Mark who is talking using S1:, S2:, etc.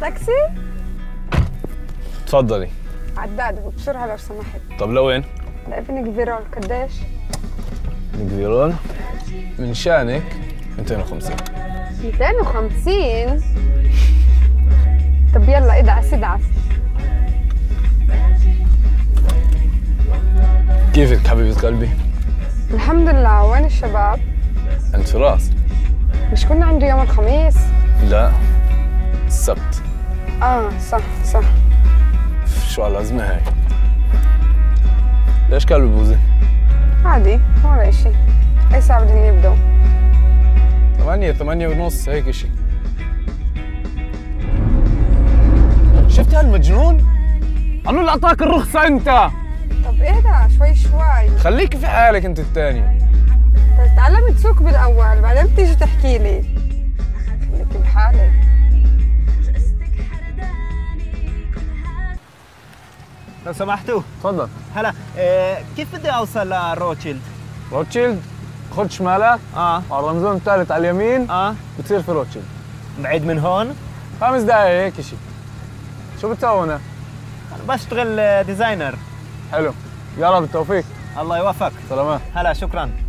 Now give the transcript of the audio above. S1: تاكسي
S2: اتفضلي
S1: عداد وبسرعه لو سمحت
S2: طب لوين؟
S1: ده ابن كبيرة قداش
S2: نقدرون من شانك 250
S1: 250 طب يلا ادعس ادعس
S2: كيفك حبيبة قلبي؟
S1: الحمد لله وين الشباب
S2: انت فراس
S1: مش كنا عنده يوم الخميس
S2: لا السبت
S1: اه صح صح
S2: شو الأزمة هاي؟ ليش قلبي بوزي؟
S1: عادي ولا اشي اي ساعة بدهم يبدوا
S2: 8 8 ونص هيك شيء شفت هالمجنون؟ قالوا لي اعطاك الرخصة أنت
S1: طب ايه ده شوي شوي
S2: خليك في حالك أنت الثانية
S1: طب تعلم تسوق بالاول بعدين بتيجي تحكي لي خليك بحالك
S3: لو سمحتوا
S2: تفضل
S3: هلا آه كيف بدي اوصل لروتشيلد؟
S2: روتشيلد خد شمالك آه.
S3: اه
S2: على الرمزون الثالث على اليمين
S3: اه
S2: بتصير في روتشيلد
S3: بعيد من هون
S2: خمس دقايق هيك شيء شو بتسوي هنا؟
S3: انا بشتغل آه، ديزاينر
S2: حلو يلا بالتوفيق
S3: الله يوفقك
S2: سلامات
S3: هلا شكرا